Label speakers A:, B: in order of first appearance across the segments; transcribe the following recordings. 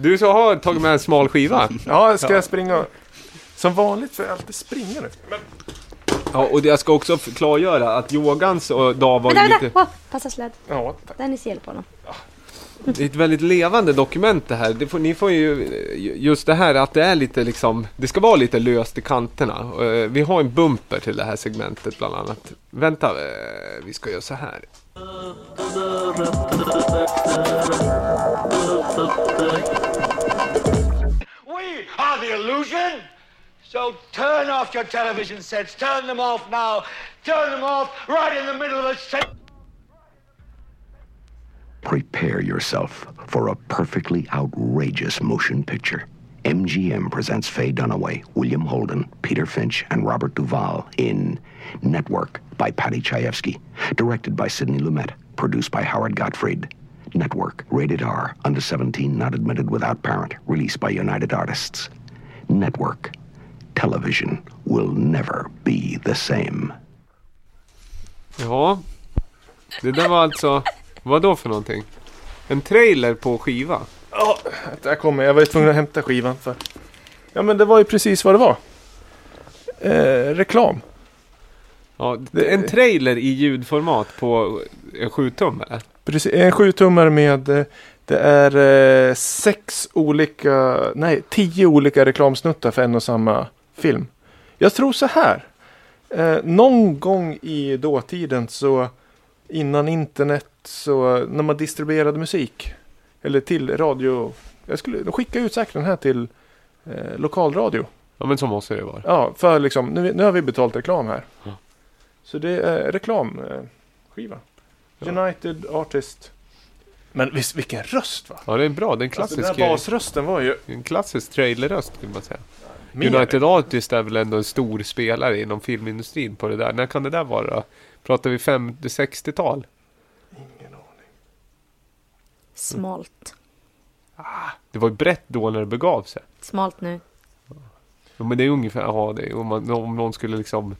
A: Du så har tagit med en smal skiva.
B: Ja, ska jag springa? Som vanligt får jag alltid springa nu.
A: Ja, och jag ska också klargöra att Jogans och Dag var
C: Vänta,
A: ju
C: vänta!
A: lite...
C: Wow, passa sladd.
B: Ja, tack.
C: Dennis hjälper honom.
A: Det är ett väldigt levande dokument det här. Det får, ni får ju, eh, just det här att det är lite liksom, det ska vara lite löst i kanterna. Eh, Vi har en bumper till det här segmentet bland annat. Vänta, eh, vi ska göra så här.
D: We are the illusion. So turn off your television sets. Turn them off now. Turn them off right in the middle of a set.
E: Prepare yourself for a perfectly outrageous motion picture. MGM presents Faye Dunaway, William Holden, Peter Finch, and Robert Duvall in Network by Patty Chayefsky. Directed by Sidney Lumet. Produced by Howard Gottfried. Network. Rated R. Under 17, not admitted without parent. Released by United Artists. Network. Television will never be the same.
A: Ja, det där var alltså, vad då för någonting? En trailer på skiva.
B: Ja, där kommer jag. Jag var ju tvungen att hämta skivan för. Ja, men det var ju precis vad det var. Eh, reklam.
A: Ja, en trailer i ljudformat på en 7 tum eller?
B: Precis, en sjutummare med eh, det är eh, sex olika, nej tio olika reklamsnuttar för en och samma film. Jag tror så här. Eh, någon gång i dåtiden så innan internet så när man distribuerade musik eller till radio. Jag skulle de skickade ut säkert den här till eh, lokalradio.
A: Ja men så måste det vara.
B: Ja, för liksom nu, nu har vi betalt reklam här. Så det är reklamskiva. Eh, skiva. United Artist. Men visst, vilken röst va?
A: Ja det är bra, det är en
B: Alltså,
A: klassisk,
B: den här basrösten var ju
A: en klassisk trailerröst kan man säga.
B: mer.
A: United Artists är väl ändå en stor spelare inom filmindustrin på det där. När kan det där vara då? Pratar vi 50-60-tal?
C: Smalt.
A: Det var ju brett då när det begav sig.
C: Smalt nu.
A: Ja, men det är ungefär, ja, det är, om, man, om någon skulle liksom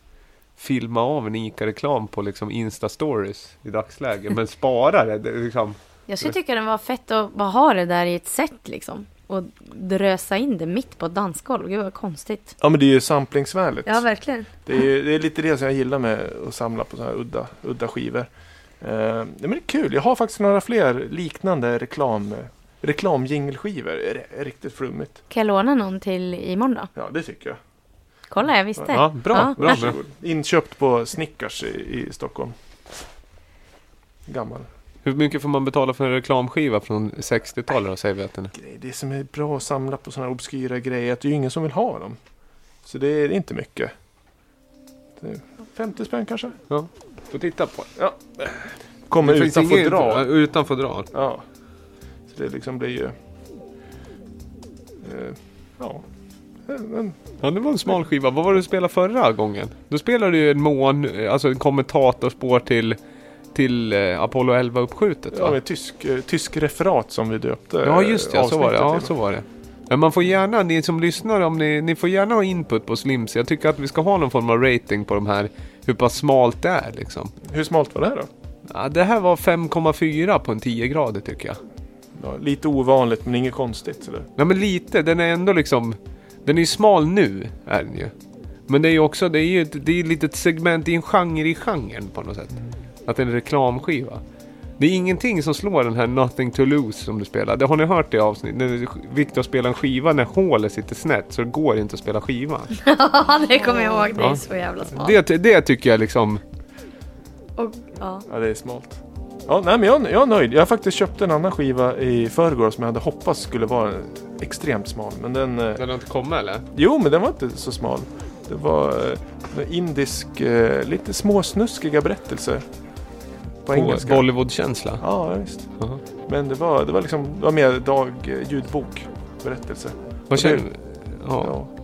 A: filma av en ICA-reklam på liksom Insta-stories i dagsläget. Men spara det, det är liksom.
C: Jag skulle tycka den var fett att bara ha det där i ett set liksom. Och drösa in det mitt på ett dansgolv. Gud vad konstigt.
B: Ja men det är ju samplingsvärdet.
C: Ja, verkligen.
B: det, är ju, det är lite det som jag gillar med att samla på sådana här udda, udda skivor. Eh, ja, men det är kul, jag har faktiskt några fler liknande reklam, eh, reklamjingelskivor. Det är- är Riktigt flummigt.
C: Kan jag låna någon till imorgon då?
B: Ja det tycker jag.
C: Kolla, jag visste.
A: Ja, bra, bra, bra.
B: Varsågod. Inköpt på Snickers i, i Stockholm. Gammal
A: Hur mycket får man betala för en reklamskiva från 60-talet då, säger vi att den är?
B: grej. Det som är bra att samla på sådana här obskyra grejer är att det är ju ingen som vill ha dem. Så det är inte mycket. Det är 50 spänn kanske?
A: Ja, får titta på.
B: Ja. Kommer
A: finns
B: utan
A: ingen- Ja,
B: fodral.
A: Utan fodral.
B: Ja. Så det liksom blir ju... Eh, ja. Men,
A: Ja, det var en smal skiva. Vad var det du spelade förra gången? Då spelade du ju en mån, eh, alltså en kommentatorspår till, till eh, Apollo 11 uppskjutet
B: ja,
A: va?
B: med tysk, eh, tysk referat som vi döpte eh,
A: Ja, just det. Ja, så var det.
B: avsnittet
A: Ja,
B: till.
A: så var det. Men man får gärna, ni som lyssnar, om ni, ni får gärna ha input på Slims. Jag tycker att vi ska ha någon form av rating på de här, hur pass smalt det är liksom.
B: Hur smalt var det här då?
A: Ja, det här var 5,4 på en 10-gradig tycker jag.
B: Ja, lite ovanligt men inget konstigt. Eller?
A: Nej men lite, den är ändå liksom, den är ju smal nu, är den ju. Men det är ju också, det är ju ett, det är ett litet segment, i en genre i genren på något sätt. Att det är en reklamskiva. Det är ingenting som slår den här Nothing to lose som du spelar. Det har ni hört i avsnittet. Det är viktigt att spela en skiva när hålet sitter snett så det går inte att spela skivan.
C: Ja, det kommer jag ihåg. Det är
A: Ja.
C: så jävla smalt.
A: Det, det tycker jag liksom,
C: Och, ja.
B: Ja, det är smalt. Ja, nej, men jag, jag är nöjd. Jag har faktiskt köpt en annan skiva i förrgår som jag hade hoppats skulle vara extremt smal. Men den... eh,
A: den har inte kommit eller?
B: Jo, men den var inte så smal. Det var eh, en indisk, eh, lite småsnuskiga berättelser. På engelska.
A: Bollywood-känsla.
B: Ja, visst.
A: Aha.
B: Men det var, det var liksom, det var mer dag, eh, ljudbok, berättelse.
A: Vad
B: det-
A: känner Ja.
B: Ja.